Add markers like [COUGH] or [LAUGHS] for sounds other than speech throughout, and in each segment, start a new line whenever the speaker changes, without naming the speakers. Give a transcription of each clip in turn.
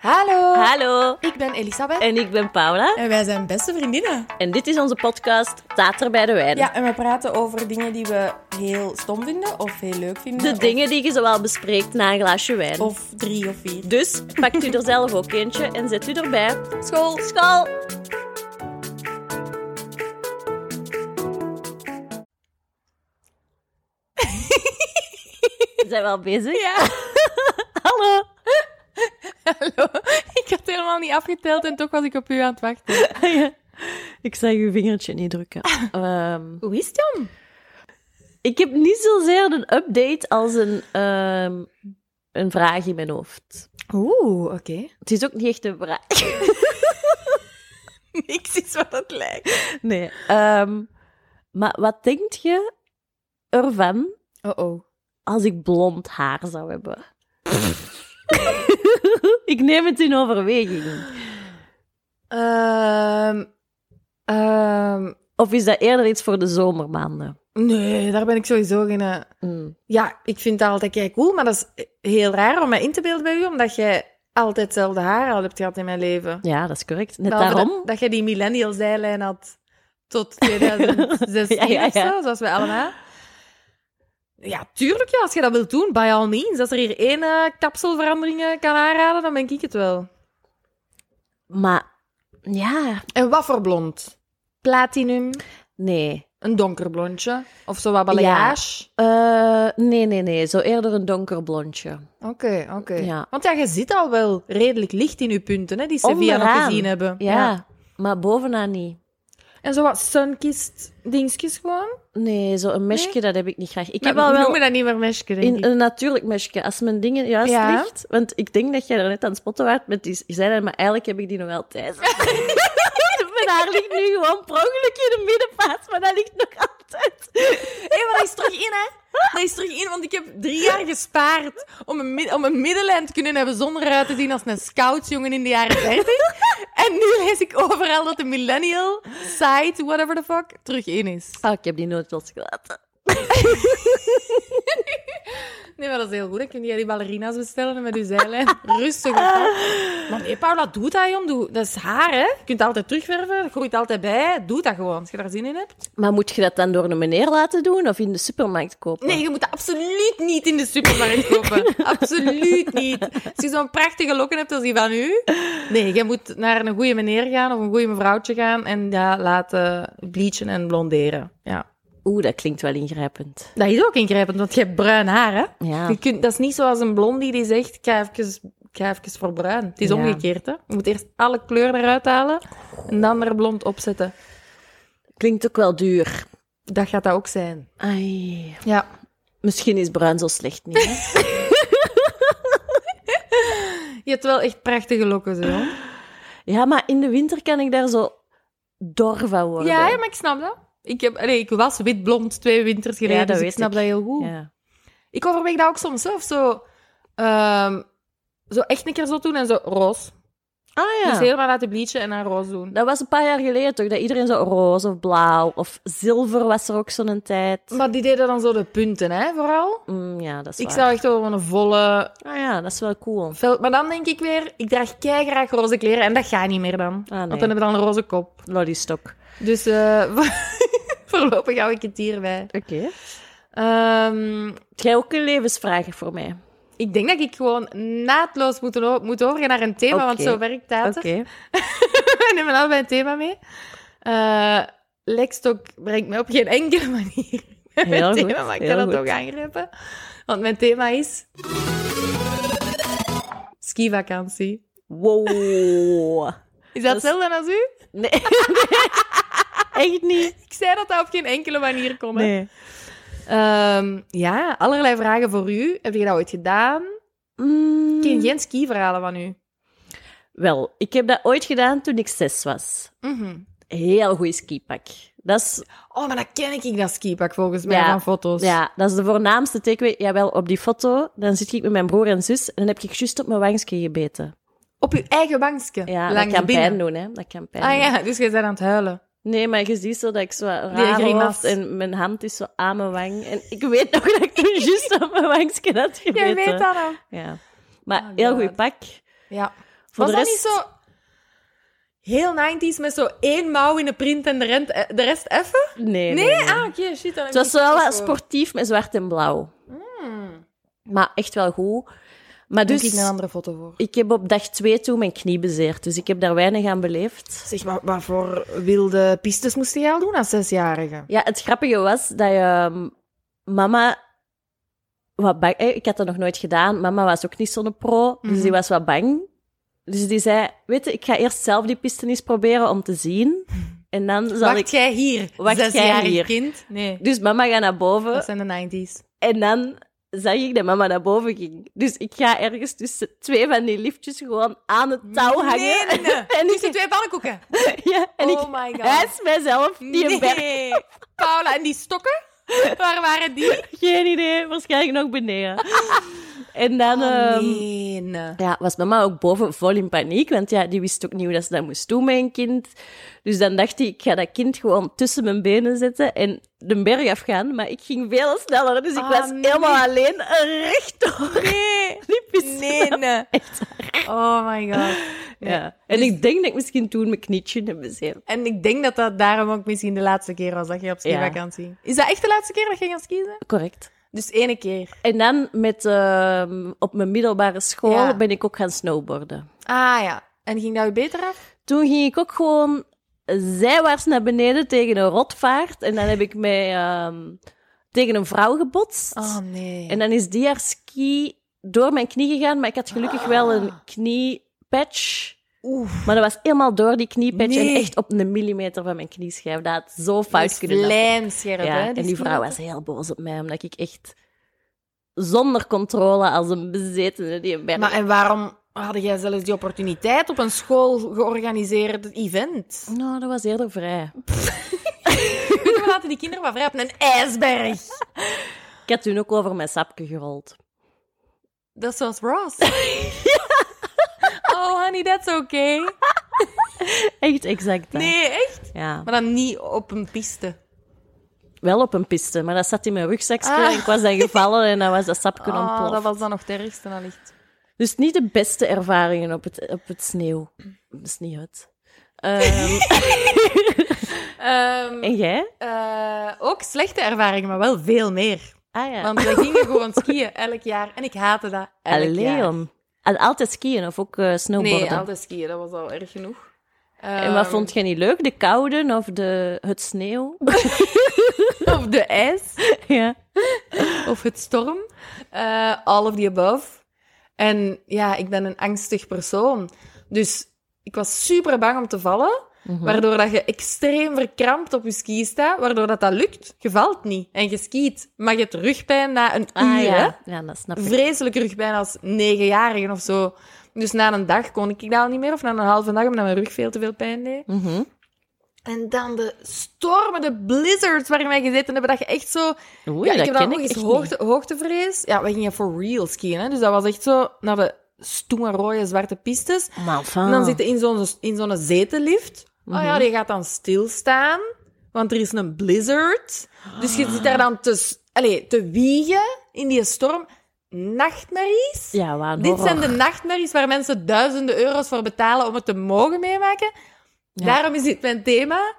Hallo.
Hallo,
Ik ben Elisabeth.
en ik ben Paula.
En wij zijn beste vriendinnen.
En dit is onze podcast Tater bij de Wijn.
Ja, en we praten over dingen die we heel stom vinden of heel leuk vinden.
De
of-
dingen die je zowel bespreekt na een glaasje wijn.
Of drie of vier.
Dus pakt u er zelf ook eentje en zet u erbij.
School.
School! We zijn wel bezig.
Ja.
[LAUGHS] Hallo!
[LAUGHS] Hallo. Ik had helemaal niet afgeteld en toch was ik op u aan het wachten.
Ik zag uw vingertje niet drukken. Ehm,
Hoe is het dan?
ik heb niet zozeer een update als een, ehm, een vraag in mijn hoofd.
Oeh, oké. [LAUGHS]
Het is ook niet echt een vraag.
Niks is wat het lijkt.
[LAUGHS] Nee. ehm, maar wat denk je ervan
Oh-oh.
als ik blond haar zou hebben? [LAUGHS] ik neem het in overweging.
Ehm... ehm,
Of is dat eerder iets voor de zomermaanden?
nee, daar ben ik sowieso geen... eh,
Mm.
Ja, ik vind dat altijd kei cool, maar dat is heel raar om mij in te beelden bij u, omdat jij altijd hetzelfde haar al hebt gehad in mijn leven.
Ja, dat is correct. Net
Behalve
daarom.
Dat, dat jij die millennial zijlijn had [LAUGHS] tot 2016
Ja, ja,
of zo,
ja.
zoals wij allemaal. Ja, tuurlijk ja, als je dat wilt doen, by all means. Als er hier één eh, kapselverandering eh, kan aanraden, dan ben ik het wel.
Maar ja,
En wat voor blond? Platinum,
nee.
een donker blondje, of zo wat balayage.
balayage. Eh, nee, nee, nee. Zo eerder een donker blondje.
Oké, oké.
Ja.
Want ja, je zit al wel redelijk licht in je punten, hè, die Sevilla nog
Onderaan.
gezien hebben.
Ja, maar bovenaan niet.
En zo wat sunkist dingetjes gewoon.
Nee, zo'n mesje, dat heb ik niet graag. Ik
Ik heb
heb al wel
noemen dat niet meer mesje, denk
In
ik.
een natuurlijk mesje, als mijn dingen juist
Ja.
ligt. Want ik denk dat jij er net aan het spotten waart met die zijlijn, maar eigenlijk heb ik die nog wel
[LAUGHS]
thuis. mijn haar ligt nu gewoon per ongeluk in de middenplaats, maar dat ligt nog altijd.
Hé, maar dat is terug in, hè? Dat is terug in, want ik heb drie jaar gespaard om een, mid- om een middenlijn te kunnen hebben zonder eruit te zien als een scoutsjongen in de jaren 30. en nu lees ik overal dat de millennial site, whatever the fuck, terug in is.
Ah, ik heb die nooit losgelaten.
Nee, maar dat is heel goed. Dan kun je die ballerina's bestellen met uw zijlijn. Rustig. op, hè. Maar nee, Paula, doe dat, jong. Doe. Dat is haar, hè. Je kunt het altijd terugwerven. Dat groeit altijd bij. Doe dat gewoon, als je daar zin in hebt.
Maar moet je dat dan door een meneer laten doen of in de supermarkt kopen?
Nee, je moet dat absoluut niet in de supermarkt
[LAUGHS]
kopen. absoluut niet. Als je zo'n prachtige lokken hebt als die van u. Nee, je moet naar een goede meneer gaan of een goede mevrouwtje gaan en ja, laten bleachen en blonderen. Ja.
Oeh, dat klinkt wel ingrijpend.
Dat is ook ingrijpend, want je hebt bruin haar, hè?
Ja.
Je kunt, dat is niet zoals een blondie die zegt, ik ga even, ik ga even voor bruin. Het is
Ja.
omgekeerd, hè. Je moet eerst alle kleur eruit halen en dan er blond opzetten.
Klinkt ook wel duur.
Dat gaat dat ook zijn.
Ai.
Ja.
Misschien is bruin zo slecht
[LAUGHS]
niet. hè?
Je hebt wel echt prachtige lokken, zo.
ja, maar in de winter kan ik daar zo dor van worden.
Ja, ja, maar ik snap dat. Ik, heb, allee, ik was wit-blond twee winters geleden,
Ja, dat
dus ik
weet
snap
ik.
dat heel goed.
Ja.
Ik overweeg dat ook soms zelf, zo, ehm, zo echt een keer zo doen en zo roze.
Ah ja.
Dus helemaal laten bleachen en dan roze doen.
Dat was een paar jaar geleden toch, dat iedereen zo roze of blauw of zilver was er ook zo'n tijd.
Maar die deden dan zo de punten, hè, vooral.
Mm, ja, dat is
Ik
waar.
zou echt wel gewoon een volle...
Ah ja, dat is wel cool.
vel- Maar dan denk ik weer, ik draag keigraag roze kleren en dat gaat niet meer dan.
Ah, nee.
Want dan heb ik dan een roze kop.
Lollystok.
Dus eh, [LAUGHS] voorlopig hou ik het hierbij.
Oké.
Ehm
Jij ook een levensvraag voor mij?
Ik denk dat ik gewoon naadloos moet, o- moet overgaan naar een thema,
Oké.
want zo werkt dat.
Oké.
[LAUGHS] We nemen allebei een thema mee. Eh Lekstok brengt mij op geen enkele manier [LAUGHS] bij mijn
Heel goed,
thema, maar ik
heel
kan het ook
goed.
aangrijpen. Want mijn thema is... Skivakantie. [LAUGHS]
Wow.
Is
Dat
dat
is-
hetzelfde als u?
Nee. Echt niet.
Ik zei dat dat op geen enkele manier kon. hè. Ehm, ja, allerlei vragen voor u. Heb je dat ooit gedaan?
Mm,
Ik ken geen skiverhalen van u.
Wel, ik heb dat ooit gedaan toen ik zes was.
Mhm.
Heel goed skipak. Dat is
Oh, maar dat ken ik, dat skipak, volgens mij,
Ja.
van foto's.
Ja, dat is de voornaamste teken. Jawel, op die foto, dan zit ik met mijn broer en zus en dan heb ik juist op mijn wangstje gebeten.
Op uw eigen bankje?
Ja,
Langs
dat kan
binnen.
pijn doen, hè. Dat kan pijn
Ah
doen.
ja, dus jij bent aan het huilen.
Nee, maar je ziet zo dat ik zo raar
grimas.
hoofd en mijn hand is zo aan mijn wang. En ik weet nog dat ik toen
[LAUGHS]
juist op mijn wangstje had gebeten.
Jij weet dat dan.
Ja. Maar
Oh,
heel
God.
goed pak.
Ja.
Voor
was
de
dat
rest-
niet zo... Heel 90s met zo één mouw in de print en de, rent, eh, de rest effen?
Nee,
Nee,
nee.
ah, oké, shit. dan heb
Het
ik
was wel
niet
wat
zo-
sportief met zwart en blauw.
Hmm.
Maar echt wel goed. Maar dus,
Doe ik nou.
ik,
een andere foto voor.
heb op dag twee toen mijn knie bezeerd. Dus ik heb daar weinig aan beleefd.
Zeg, maar, wat voor wilde pistes moest jij al doen als zesjarige?
Ja, het grappige was dat je ehm, mama... Wat bang, eh, ik had dat nog nooit gedaan. Mama was ook niet zo'n pro, dus
Mhm.
die was wat bang. Dus die zei, weet je, ik ga eerst zelf die piste eens proberen om te zien. En dan zal
Wacht
ik...
jij hier,
Wacht jij
zesjarig
hier?
kind? Nee,
Dus mama gaat naar boven
dat zijn de 90s.
En dan zag ik dat mama naar boven ging. Dus ik ga ergens tussen twee van die liftjes gewoon aan het touw hangen.
Nee,
[LAUGHS]
nee, nee.
En ik-
Tussen twee pannenkoeken.
Ja, en ik
oh my god.
hijs mijzelf die een berg.
nee. Paula, en die stokken? Waar waren die?
Geen idee, waarschijnlijk nog
[LAUGHS]
beneden. en dan
Oh,
ehm,
nee.
ja, was mama ook boven vol in paniek, want ja, die wist ook niet hoe dat ze dat moest doen met een kind. Dus dan dacht ik, ik ga dat kind gewoon tussen mijn benen zetten en de berg afgaan. Maar ik ging veel sneller, dus ik
Ah,
was
nee.
helemaal alleen rechtdoor
Nee.
die piste.
Nee, nee.
Echt
Oh my god.
Ja. En
Dus
ik denk dat ik misschien toen mijn knietje heb bezeerd.
En ik denk dat dat daarom ook misschien de laatste keer was dat je op skivakantie ging. Is dat echt de laatste keer dat je ging skiën?
Correct.
Dus ene keer.
En dan met, ehm, op mijn middelbare school
Ja.
ben ik ook gaan snowboarden.
Ah ja. En ging dat je beter af?
Toen ging ik ook gewoon zijwaarts naar beneden tegen een rotvaart. En dan heb ik mij ehm, tegen een vrouw gebotst.
Ah. nee.
En dan is die haar ski door mijn knie gegaan. Maar ik had gelukkig wel
Ah.
een kniepatch.
Oeh.
Maar dat was helemaal door die kniepatch.
Nee.
En echt op een millimeter van mijn knieschijf. Dat had zo fout
Dus
kunnen aflopen.
lijmscherp,
Ja,
hè?
en die vrouw
skiën.
was heel boos op mij, omdat ik echt zonder controle als een bezetene die een berg...
Maar en waarom had jij zelfs die opportuniteit op een school georganiseerd event?
Nou, dat was eerder vrij.
[LAUGHS] We laten die kinderen wat vrij op een ijsberg.
Ik had toen ook over mijn sapje gerold.
Dat is zoals Ross. [LAUGHS] Oh, honey, that's okay.
Echt exact dat.
Nee, echt? Oh,
Ja.
Maar dan niet op een piste.
Wel op een piste, maar dat zat in mijn rugzakje
Ah.
en ik was dan gevallen en dan was dat sapje
Ah,
ontploft.
dat was dan nog het ergste allicht.
Dus niet de beste ervaringen op het, op het sneeuw. Dat is niet het. Ehm,
Ehm,
en jij?
eh, ook slechte ervaringen, maar wel veel meer.
Ah ja.
Want we gingen gewoon skiën elk jaar en ik haatte dat elk
Allee,
jaar.
jong. En altijd skiën of ook eh, snowboarden?
Nee, altijd skiën, dat was al erg genoeg.
En wat
Ehm,
vond jij niet leuk? De koude of de, het sneeuw?
Of de ijs.
[LAUGHS] ja.
of het storm. eh all of the above. En ja, ik ben een angstig persoon. Dus ik was super bang om te vallen.
Mhm.
Waardoor dat je extreem verkrampt op je ski staat. Waardoor dat, dat lukt. Je valt niet. En je skiet. Maar je hebt rugpijn na een
Ah,
uur. hè.
ja. ja, dat snap ik.
Vreselijke rugpijn als negenjarige of zo. Dus na een dag kon ik dat al niet meer. Of na een halve dag, omdat mijn rug veel te veel pijn deed.
Mhm.
En dan de stormen, de blizzards waarin wij gezeten hebben. Dat je echt zo
Oei,
ja, ik
dat
heb
ken
dan ook
ik
eens
echt
hoogte,
niet.
hoogtevrees. Ja, we gingen voor real skiën. Hè? Dus dat was echt zo naar de stoeme, rode, zwarte pistes.
Maar enfin.
En dan zitten in zo'n, in zo'n zetenlift.
Ah. Mhm.
Oh ja, die gaat dan stilstaan. Want er is een blizzard. Dus je zit daar dan te, s- allee, te wiegen in die storm. Nachtmerries.
Ja, waar een
Dit
horror.
zijn de nachtmerries waar mensen duizenden euro's voor betalen om het te mogen meemaken.
Ja.
Daarom is dit mijn thema.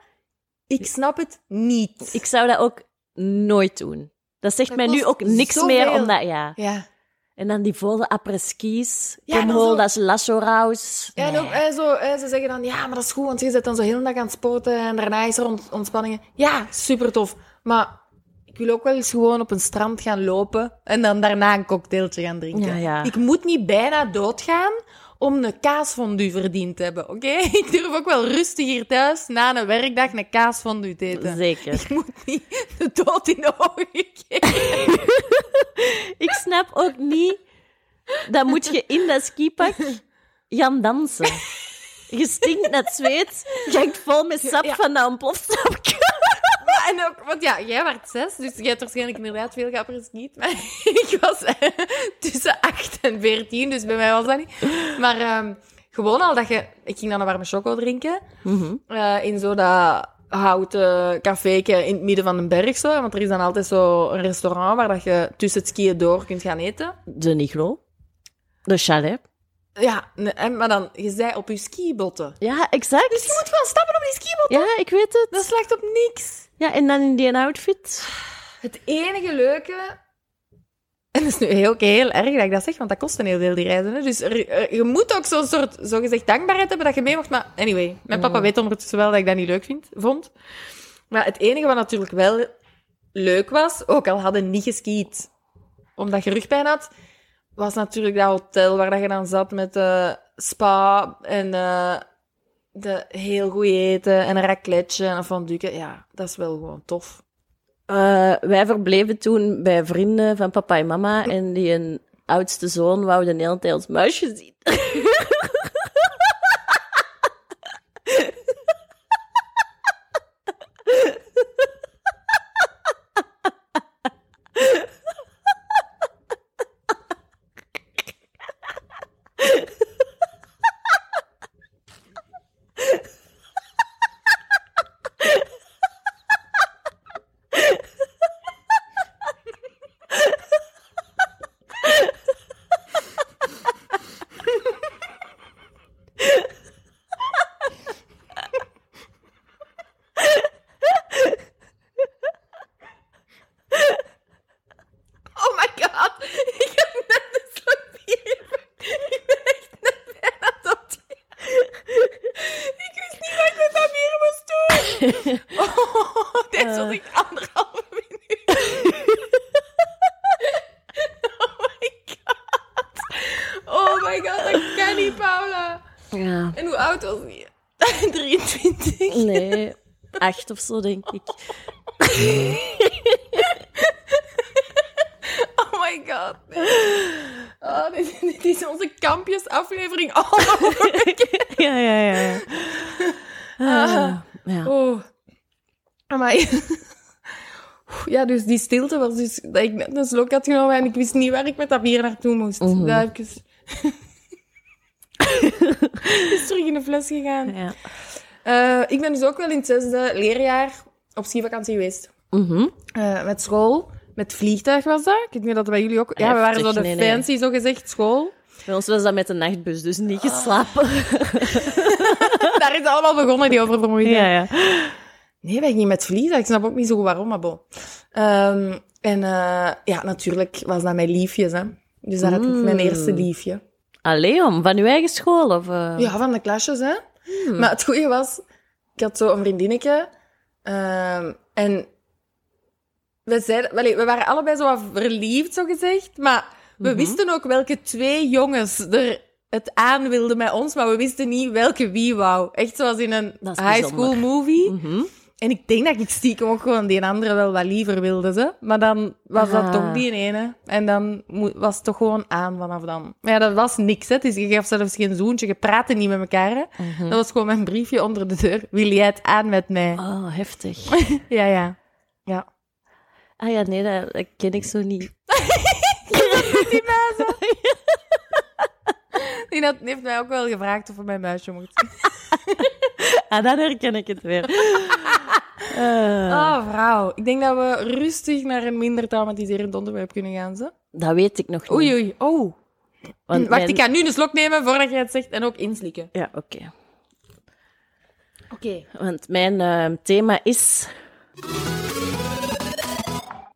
Ik snap het niet.
Ik zou dat ook nooit doen. Dat zegt
Dat
mij nu
kost
ook niks
zoveel.
meer, omdat... Ja.
Ja.
En dan die volle après-skis.
Ja,
Ja,
dan zo-
dat is Lasso Rouse.
Ja, en ook, eh, zo, eh, ze zeggen dan, ja, maar dat is goed, want je zit dan zo heel de dag aan het sporten en daarna is er ont- ontspanningen. Ja, super tof. Maar ik wil ook wel eens gewoon op een strand gaan lopen en dan daarna een cocktailtje gaan drinken.
Ja, ja.
Ik moet niet bijna doodgaan om een kaasfondue verdiend te hebben, oké? [LAUGHS] Ik durf ook wel rustig hier thuis na een werkdag een kaasfondue te eten.
Zeker.
Ik moet niet de dood in de ogen kijken.
ik snap ook niet... Dan moet je in dat skipak gaan dansen. Je stinkt naar het zweet. Je hangt vol met sap
Ja.
van dat ontplofstapje.
Ja, en ook, want ja, jij werd zes, dus jij hebt waarschijnlijk inderdaad veel geapprecieerd. Maar [LAUGHS] ik was eh, tussen 8 en 14, dus bij mij was dat niet. Maar ehm, gewoon al dat je... Ik ging dan een warme choco drinken
Mhm.
eh, in zo dat houten caféke in het midden van een berg. Zo, want er is dan altijd zo een restaurant waar dat je tussen het skiën door kunt gaan eten.
De Niglo. De chalet.
Ja, nee, en- maar dan, je zei op je skibotten.
Ja, exact.
Dus je moet gewoon stappen op die skibotten.
Ja, ik weet het.
Dat slaagt op niks.
Ja, en dan in die outfit.
Het enige leuke. En dat is nu heel, ook heel erg dat ik dat zeg, want dat kost een heel deel, die reizen. Hè? Dus er- er- je moet ook zo'n soort zogezegd dankbaarheid hebben dat je mee mocht. Maar anyway, mijn papa weet ondertussen wel dat ik dat niet leuk vind, vond. Maar het enige wat natuurlijk wel leuk was, ook al hadden niet geskiet omdat je rugpijn had, was natuurlijk dat hotel waar dat je dan zat met eh, spa en eh, de heel goed eten en een racletje en een fondue. Ja, dat is wel gewoon tof.
Eh, wij verbleven toen bij vrienden van papa en mama. En die een oudste zoon wou de hele tijd ons muisje zien.
Oh my god, ik heb net een slokje. Ik ben echt net bijna tot Ik wist niet dat ik met dat bier moest doen. Oh, dit zat ik anderhalve minuut. Oh my god. Oh my god, dat kan niet, Paula.
Ja.
En hoe oud was [LAUGHS] je? 23.
Nee, acht of zo, denk ik.
Oh my god. Oh, dit, dit is onze kampjesaflevering Oh all over
Ja, ja, ja. Ah, ja.
Oh. Amai. [LAUGHS] Oeh, Ja, dus die stilte was dus dat ik net een slok had genomen en ik wist niet waar ik met dat bier naartoe moest.
Oh.
Daar heb ik eens... [LAUGHS] is terug in de fles gegaan.
ja.
Eh, ik ben dus ook wel in het zesde leerjaar op skivakantie geweest.
Mhm.
Eh, met school, met vliegtuig was dat. Ik weet niet of dat bij jullie ook... Ja, we waren zo
Heftig,
de
nee, nee.
fancy, zo gezegd, school.
Bij ons was dat met de nachtbus, dus niet geslapen.
Daar is het allemaal begonnen, die oververmoeidheid.
ja.
Nee, wij gingen met vliegtuig. Ik snap ook niet zo goed waarom, maar bon. Ehm, en eh, ja, natuurlijk was dat mijn liefjes, hè. Dus dat had ik
Mm.
mijn eerste liefje.
Allee, om, van uw eigen school? Of, eh?
Ja, van de klasjes, hè.
Hmm.
Maar het goede was, ik had zo een vriendinnetje. ehm, en we, zeiden, welle, we waren allebei zo wat verliefd, zo gezegd. Maar we
Mhm.
wisten ook welke twee jongens er het aan wilden met ons. Maar we wisten niet welke wie wou. Echt zoals in een
Dat is
high
bijzonder.
school movie.
Mhm.
En ik denk dat ik stiekem ook gewoon die andere wel wat liever wilde, ze. Maar dan was dat
Ah.
toch die ene. En dan mo- was het toch gewoon aan vanaf dan. Maar ja, dat was niks, hè. Dus je gaf zelfs geen zoentje, je praatte niet met elkaar, hè. Dat was gewoon mijn briefje onder de deur. Wil jij het aan met mij?
Oh, [LAUGHS] heftig.
Ja, ja. Ja.
Ah ja, nee, dat, dat ken ik zo niet.
Die had- die heeft mij ook wel gevraagd of we mijn muisje mocht zien.
Ah, dan herken ik het weer. Eh,
Oh, vrouw. Ik denk dat we rustig naar een minder traumatiserend onderwerp kunnen gaan, ze.
Dat weet ik nog niet.
Oei, oei. Oh.
want
Wacht,
mijn-
ik ga nu een slok nemen voordat jij het zegt. En ook inslikken.
Ja, oké.
Oké.
Want mijn eh, thema is...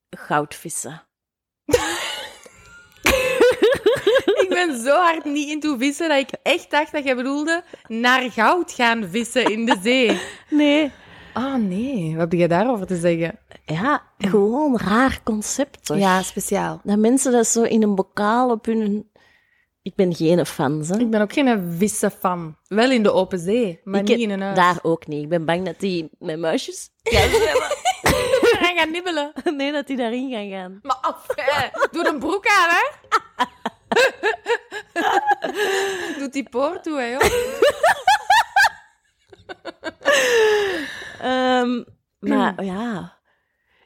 Goudvissen.
Ik ben zo hard niet into vissen dat ik echt dacht dat jij bedoelde naar goud gaan vissen in de zee.
Nee.
Ah nee, wat heb je daarover te zeggen?
Ja, gewoon een raar concept, toch?
speciaal.
Dat mensen dat zo in een bokaal op hun... Ik ben geen fan, hè.
Ik ben ook geen vissenfan. Wel in de open zee, maar
Ik
niet
ken-
in een huis. [LAUGHS]
Daar ook niet. Ik ben bang dat die met muisjes... [LAUGHS] Ja,
gaan gaan nibbelen.
nee, dat die daarin gaan gaan.
Maar af, hè. doe een broek aan, [LAUGHS] hè. Doe die poort toe, hè, joh.
Ehm,
[CLEARS THROAT]
maar ja,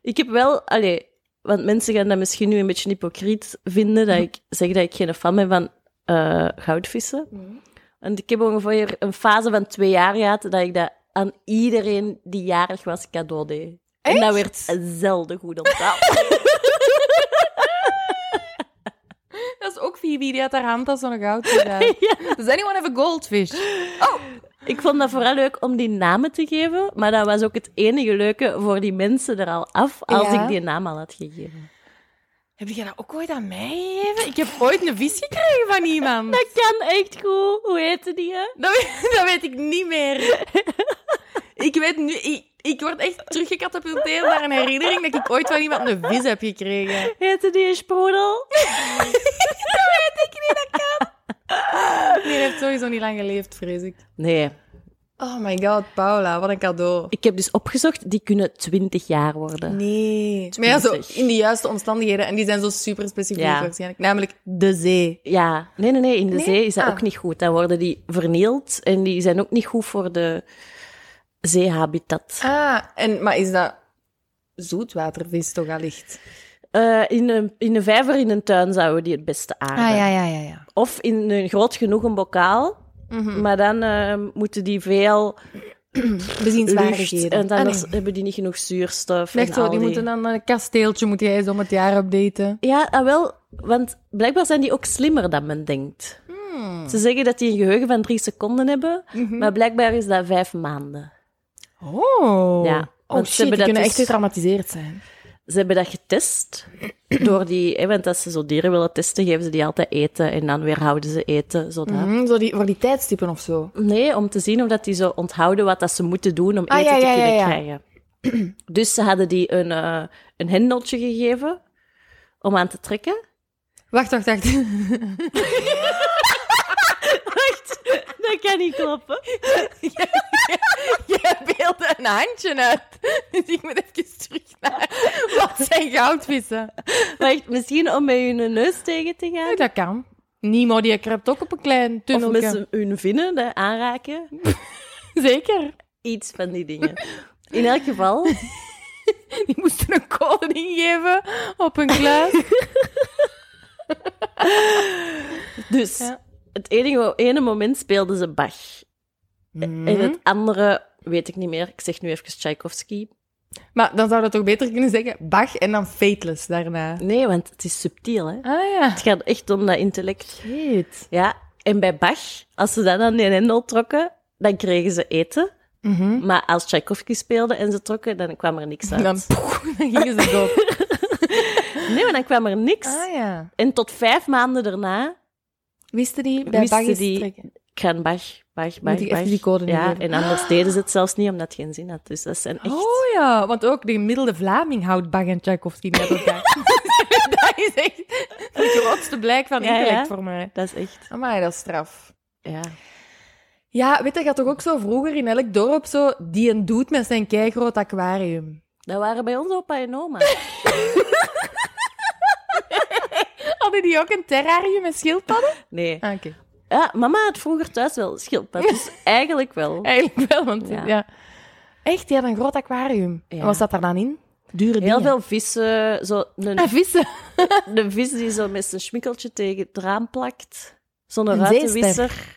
ik heb wel, allee, want mensen gaan dat misschien nu een beetje hypocriet vinden dat
[LAUGHS]
ik zeg dat ik geen fan ben van eh, goudvissen.
Mm.
Want ik heb ongeveer een fase van twee jaar gehad dat ik dat aan iedereen die jarig was cadeau deed. En dat werd zelden goed onthaald.
Dat is ook Phoebe die uit haar handtas zo'n goudvis
[LAUGHS]
had. Does anyone have a goldfish?
Ik vond dat vooral leuk om die namen te geven, maar dat was ook het enige leuke voor die mensen er al af als
Ja.
ik die naam al had gegeven.
Heb jij dat ook ooit aan mij gegeven? Ik heb ooit een vis gekregen van iemand.
Dat kan echt goed. Hoe heette die? Hè?
Dat weet, [LAUGHS] dat weet ik niet meer. Ik weet nu... Ik, ik word echt teruggecatapulteerd naar een herinnering dat ik ooit van iemand een vis heb gekregen.
Heette die een sproedel?
Die heeft sowieso niet lang geleefd, vrees ik.
Nee.
Oh my god, Paula, wat een cadeau.
Ik heb dus opgezocht, die kunnen 20 jaar worden.
Nee. Maar ja, zo
Twintig.
in de juiste omstandigheden. En die zijn zo super specifiek
Ja.
waarschijnlijk. Namelijk de zee.
Ja, nee, nee, nee. In de
Nee?
zee is dat
Ah.
ook niet goed. Dan worden die vernield en die zijn ook niet goed voor de zeehabitat.
Ah, en, maar is dat zoetwatervis toch allicht?
Eh, in, een, in een vijver in een tuin zouden die het beste aarden.
Ah, ja, ja, ja.
Of in een groot genoeg een bokaal.
Mhm.
Maar dan eh, moeten die veel lucht.
Bezienswaardigheden. Ah,
En anders hebben die niet genoeg zuurstof. en
Echt zo,
al
oh, die moeten dan een kasteeltje moeten jij eens om het jaar updaten.
Ja, ah, wel. Want blijkbaar zijn die ook slimmer dan men denkt.
Hmm.
Ze zeggen dat die een geheugen van drie seconden hebben.
Mhm.
Maar blijkbaar is dat vijf maanden.
Oh.
Ja,
Oh
want ze
shit,
hebben
die
dat
kunnen
dus-
echt getraumatiseerd zijn.
Ze hebben dat getest door die... Hè, want als ze zo dieren willen testen, geven ze die altijd eten. En dan weer houden ze eten, zodat...
Mhm, zo die, voor die tijdstippen of zo.
Nee, om te zien of dat die zo onthouden wat dat ze moeten doen om
Ah,
eten
ja, ja,
te kunnen
ja, ja.
krijgen. [CLEARS THROAT] Dus ze hadden die een, eh, een hendeltje gegeven om aan te trekken.
Wacht, wacht, [LAUGHS] wacht.
Echt? Dat kan niet [LAUGHS] kloppen.
Jij beelde een handje uit. Dus ik moet even terug naar... Wat zijn goudvissen?
Maar echt, misschien om met hun neus tegen te gaan.
Nee, dat kan. Nemo die kruipt ook op een klein
Of met
tunnelje.
z'n- hun vinnen hè, aanraken.
Zeker.
Iets van die dingen. In elk
[LAUGHS]
geval,
Die moesten een code ingeven op een kluis.
dus
Ja.
het enige, ene moment speelden ze Bach.
Mhm.
En het andere, weet ik niet meer, ik zeg nu even Tchaikovsky.
Maar dan zou dat toch beter kunnen zeggen Bach en dan Fateless daarna.
Nee, want het is subtiel, hè.
Ah ja.
Het gaat echt om dat intellect.
Shit.
Ja, en bij Bach, als ze dat aan die hendel trokken, dan kregen ze eten.
Mhm.
Maar als Tchaikovsky speelde en ze trokken, dan kwam er niks uit.
Dan, poeh, dan gingen ze [LAUGHS] dood.
Nee, maar dan kwam er niks.
Ah, ja.
En tot vijf maanden daarna
Wisten die bij
wisten
Bach eens
die...
trekken?
Ik ga een Bach, Bach,
Moet
Bach,
ik even
Bach.
die code
Ja,
neergeven?
en anders deden ze het zelfs niet, omdat het geen zin had. Dus dat zijn echt...
Oh ja, want ook de gemiddelde Vlaming houdt Bach en Tchaikovsky niet uit elkaar. [LAUGHS] dat is echt het grootste blijk van
Ja, ja.
intellect voor mij.
Dat is echt...
Amai, dat is straf.
Ja.
Ja, weet je, je had toch ook zo vroeger in elk dorp zo die een doet met zijn keigroot aquarium.
Dat waren bij ons opa en
[LAUGHS]
oma.
Hadden die ook een terrarium met schildpadden?
Nee.
Ah, Oké.
Ja, mama had vroeger thuis wel schildpadden. Dus
[LAUGHS]
eigenlijk wel.
Eigenlijk wel, want ja.
Ja.
Echt, die had een groot aquarium.
Ja.
En wat zat daar dan in? Dure
Heel veel vissen, zo een
Ah, vissen.
De vis die zo met zijn schmikkeltje tegen het raam plakt. Zo'n
Een
ruitenwisser.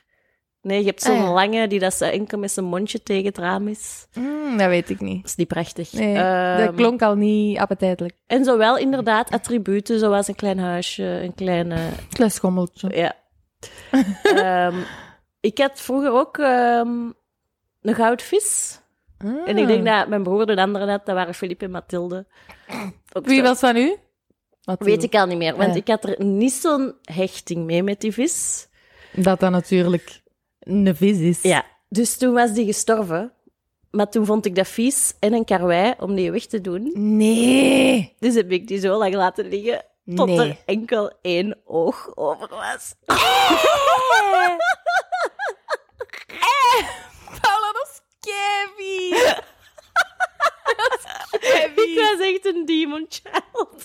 Nee, je hebt zo'n
Ah, ja.
lange die dat ze enkel met zijn mondje tegen het raam is.
Mm, dat weet ik niet.
Dat is niet prachtig.
Nee, dat
Ehm,
klonk al niet appetijtelijk.
En zowel inderdaad attributen zoals een klein huisje, een
[LAUGHS]
kleine...
Klein schommeltje.
Ja. Ehm, ik had vroeger ook ehm, een goudvis. En ik denk
Ah.
dat mijn broer de andere had, dat waren Filip en Mathilde. Ook
Wie
zo.
was dat nu? Wat
Weet ik al niet meer, want
Ja.
ik had er niet zo'n hechting mee met die vis.
Dat dat natuurlijk een vis is.
Ja, dus toen was die gestorven. Maar toen vond ik dat vies en een karwei om die weg te doen.
Nee.
Dus heb ik die zo lang laten liggen tot
Nee.
er enkel één oog over was.
Paula, dat is Kevin.
[LAUGHS]
dat is
Ik
Kevin.
was echt een demon child.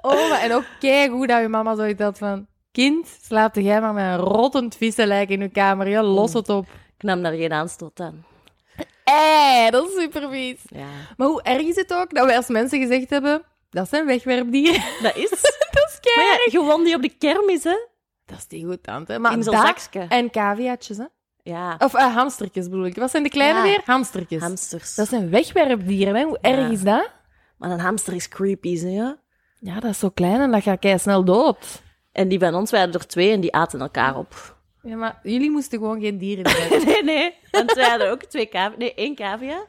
Oh, maar en ook keigoed dat je mama zoiets had van... Kind, slaap jij maar met een rottend vissenlijk in je kamer. Ja, los het op.
Ik nam daar geen aanstoot aan.
Eh, dat is super vies.
Ja.
Maar hoe erg is het ook dat wij als mensen gezegd hebben... Dat zijn wegwerpdieren. [LAUGHS]
[LAUGHS] Dat is.
dat is kei.
Maar ja, je won die op de kermis, hè?
Dat is die goed, tante. Maar
In zo'n
dat
zakje.
En caviatjes, hè?
Ja,
Of eh, hamstertjes bedoel ik. Wat zijn de kleine
Ja.
weer? Hamstertjes.
hamsters.
Dat zijn wegwerpdieren, hè? Hoe erg
Ja.
is dat?
Maar een hamster is creepy, hè? ja?
Ja, dat is zo klein en dat gaat kei snel dood.
En die van ons waren er twee en die aten elkaar [LAUGHS] op.
Ja, maar jullie moesten gewoon geen
[LAUGHS]
dieren hebben.
Nee, nee. Want wij hadden ook twee cavia. Nee, één cavia.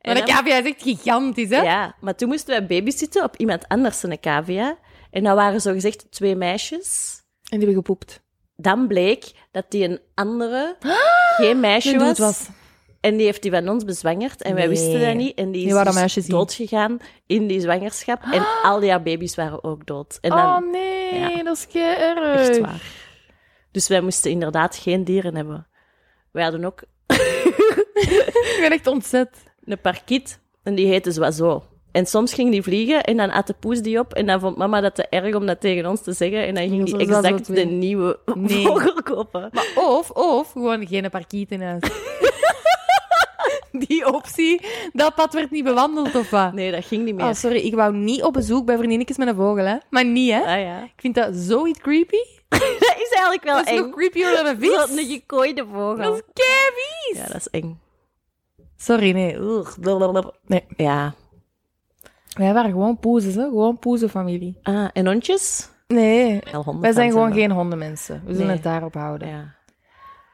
En
Maar de
dan-
cavia is echt gigantisch, hè?
Ja, maar toen moesten wij babysitten op iemand anders een cavia. En dat waren zogezegd twee meisjes.
En die hebben gepoept.
Dan bleek dat die een andere, geen meisje
Een
was.
Ah! dood was.
En die heeft die van ons bezwangerd. En wij
Nee.
wisten dat niet. En die
Die waren
is
meisjes
dus
zien. Ah!
doodgegaan in die zwangerschap. En al die haar baby's waren ook dood. En dan,
oh nee,
ja.
dat is kei erg.
Echt waar. Dus wij moesten inderdaad geen dieren hebben. Wij hadden ook
Ik ben echt ontzet.
een parkiet en die heette Zoiseau. En soms ging die vliegen en dan at de poes die op. En dan vond mama dat te erg om dat tegen ons te zeggen. En dan ging die
Dat was
exact
zo
de
twee.
nieuwe
Nee.
vogel kopen.
Maar of, of, gewoon geen parkiet in
[LAUGHS]
huis. Die optie, dat pad werd niet bewandeld, of wat?
Nee, dat ging niet meer.
Oh, sorry, ik wou niet op bezoek bij vriendinnetjes met een vogel, hè? Maar niet, hè?
Ah ja. [LAUGHS]
Ik vind dat zoiets creepy.
Oh,
Dat is eigenlijk wel
Dat is
eng.
nog creepier dan een vis.
Zo'n een gekooide vogel.
Dat is kei vies.
Ja, dat is eng.
Sorry, nee.
Ugh, blablabla.
Nee.
Ja.
Wij waren gewoon poezes, hè? gewoon poezenfamilie.
Ah, en hondjes?
Nee.
Wel honden.
Wij zijn
van
gewoon
we.
geen hondenmensen. We zullen
Nee.
het daarop houden.
Ja.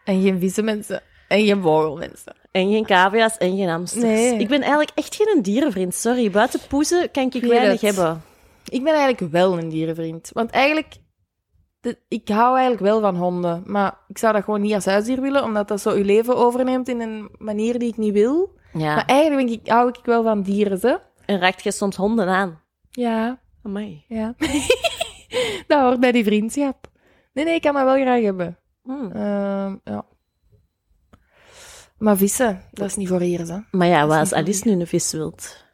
En geen vieze mensen. En geen vogelmensen.
En geen cavia's en geen hamsters.
Nee.
Ik ben eigenlijk echt geen dierenvriend, sorry. Buiten poezen kan ik,
weet
weinig
het.
hebben.
Ik ben eigenlijk wel een dierenvriend. Want eigenlijk, de- ik hou eigenlijk wel van honden. Maar ik zou dat gewoon niet als huisdier willen, omdat dat zo uw leven overneemt in een manier die ik niet wil.
Ja.
Maar eigenlijk denk ik, hou ik wel van dieren, hè?
En raakt je soms honden aan?
Ja,
Amai.
ja. [LAUGHS] dat hoort bij die vriendschap. Nee, nee, ik kan me wel graag hebben.
Hmm.
Ehm, ja. Maar vissen, dat is niet voor hier, hè?
Maar ja, waar
niet
als
van
Alice nu een vis wilt?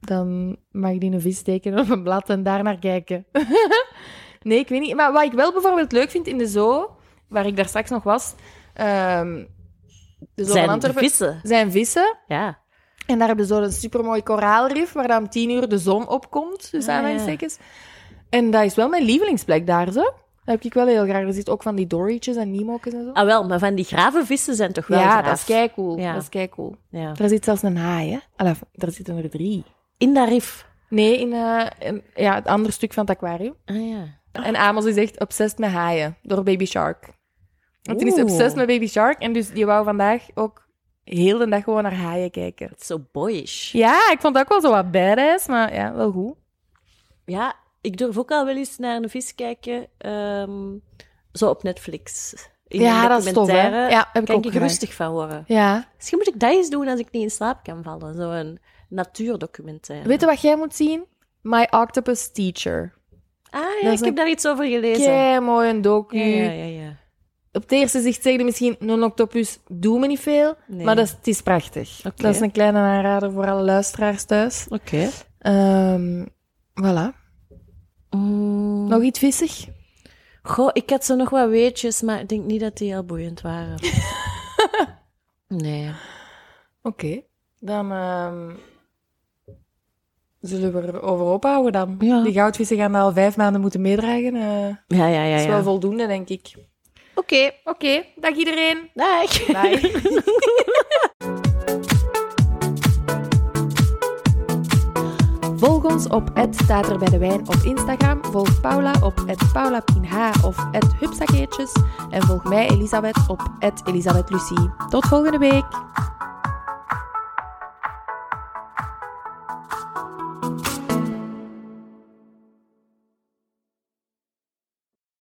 dan mag ik die een vis tekenen op een blad en daar naar kijken. [LAUGHS] nee, ik weet niet. Maar wat ik wel bijvoorbeeld leuk vind in de zoo, waar ik daar straks nog was, ehm, de zoo
Zijn
van Antwerpen,
vissen.
zijn vissen.
Ja.
En daar hebben ze zo'n supermooi koraalrif, waar dan om tien uur de zon opkomt, dus
Ah, ja.
aanhalingstekens. En dat is wel mijn lievelingsplek daar, zo. Dat heb ik wel heel graag. Er zit ook van die dorytjes en nemo's en zo.
Ah wel, maar van die graven vissen zijn toch wel
ja,
graaf?
dat is keicool.
Ja.
Dat is keicool.
Ja.
Er zit zelfs een haai, hè. Allee, daar zitten er drie.
In dat rif.
Nee, in, eh, in- ja, het andere stuk van het aquarium.
Ah ja.
En Amos is echt obsessed met haaien door Baby Shark. Want die is
Oeh.
obsessed met Baby Shark en dus die wou vandaag ook heel de dag gewoon naar haaien kijken.
Het is zo boyish.
Ja, ik vond het ook wel zo wat badass, maar ja, wel goed.
Ja, ik durf ook al wel eens naar een vis kijken. ehm, zo op Netflix. In
ja,
een
dat is tof, hè?
documentaire
Ja, heb ik
kan
ook
ik
gedaan.
rustig van worden.
Ja.
Misschien moet ik dat eens doen als ik niet in slaap kan vallen. Zo'n natuurdocumentaire.
Weet je wat jij moet zien? My Octopus Teacher.
Ah ja,
Dat is
ik heb
een-
daar iets over gelezen.
Kei mooi een docu.
Ja, ja, ja, ja.
Op het eerste zicht zeggen die misschien, een octopus doet me niet veel,
Nee.
maar dat is, het is prachtig.
Oké.
Dat is een kleine aanrader voor alle luisteraars thuis.
Oké.
Ehm, voilà.
Mm.
Nog iets vissig?
Goh, ik had zo nog wat weetjes, maar ik denk niet dat die heel boeiend
[LAUGHS]
waren. nee.
Oké. Dan ehm, zullen we erover ophouden dan.
Ja.
Die goudvissen gaan dat al vijf maanden moeten meedragen. eh. dat
Ja, ja, ja.
is wel
ja.
voldoende, denk ik. Oké, oké. Dag iedereen.
Dag.
Bye. [LAUGHS] Volg ons op het staat er bij de wijn op Instagram. Volg Paula op het paulapinh of het hupsakeertjes. En volg mij Elisabeth op het Elisabeth Lucie. Tot volgende week.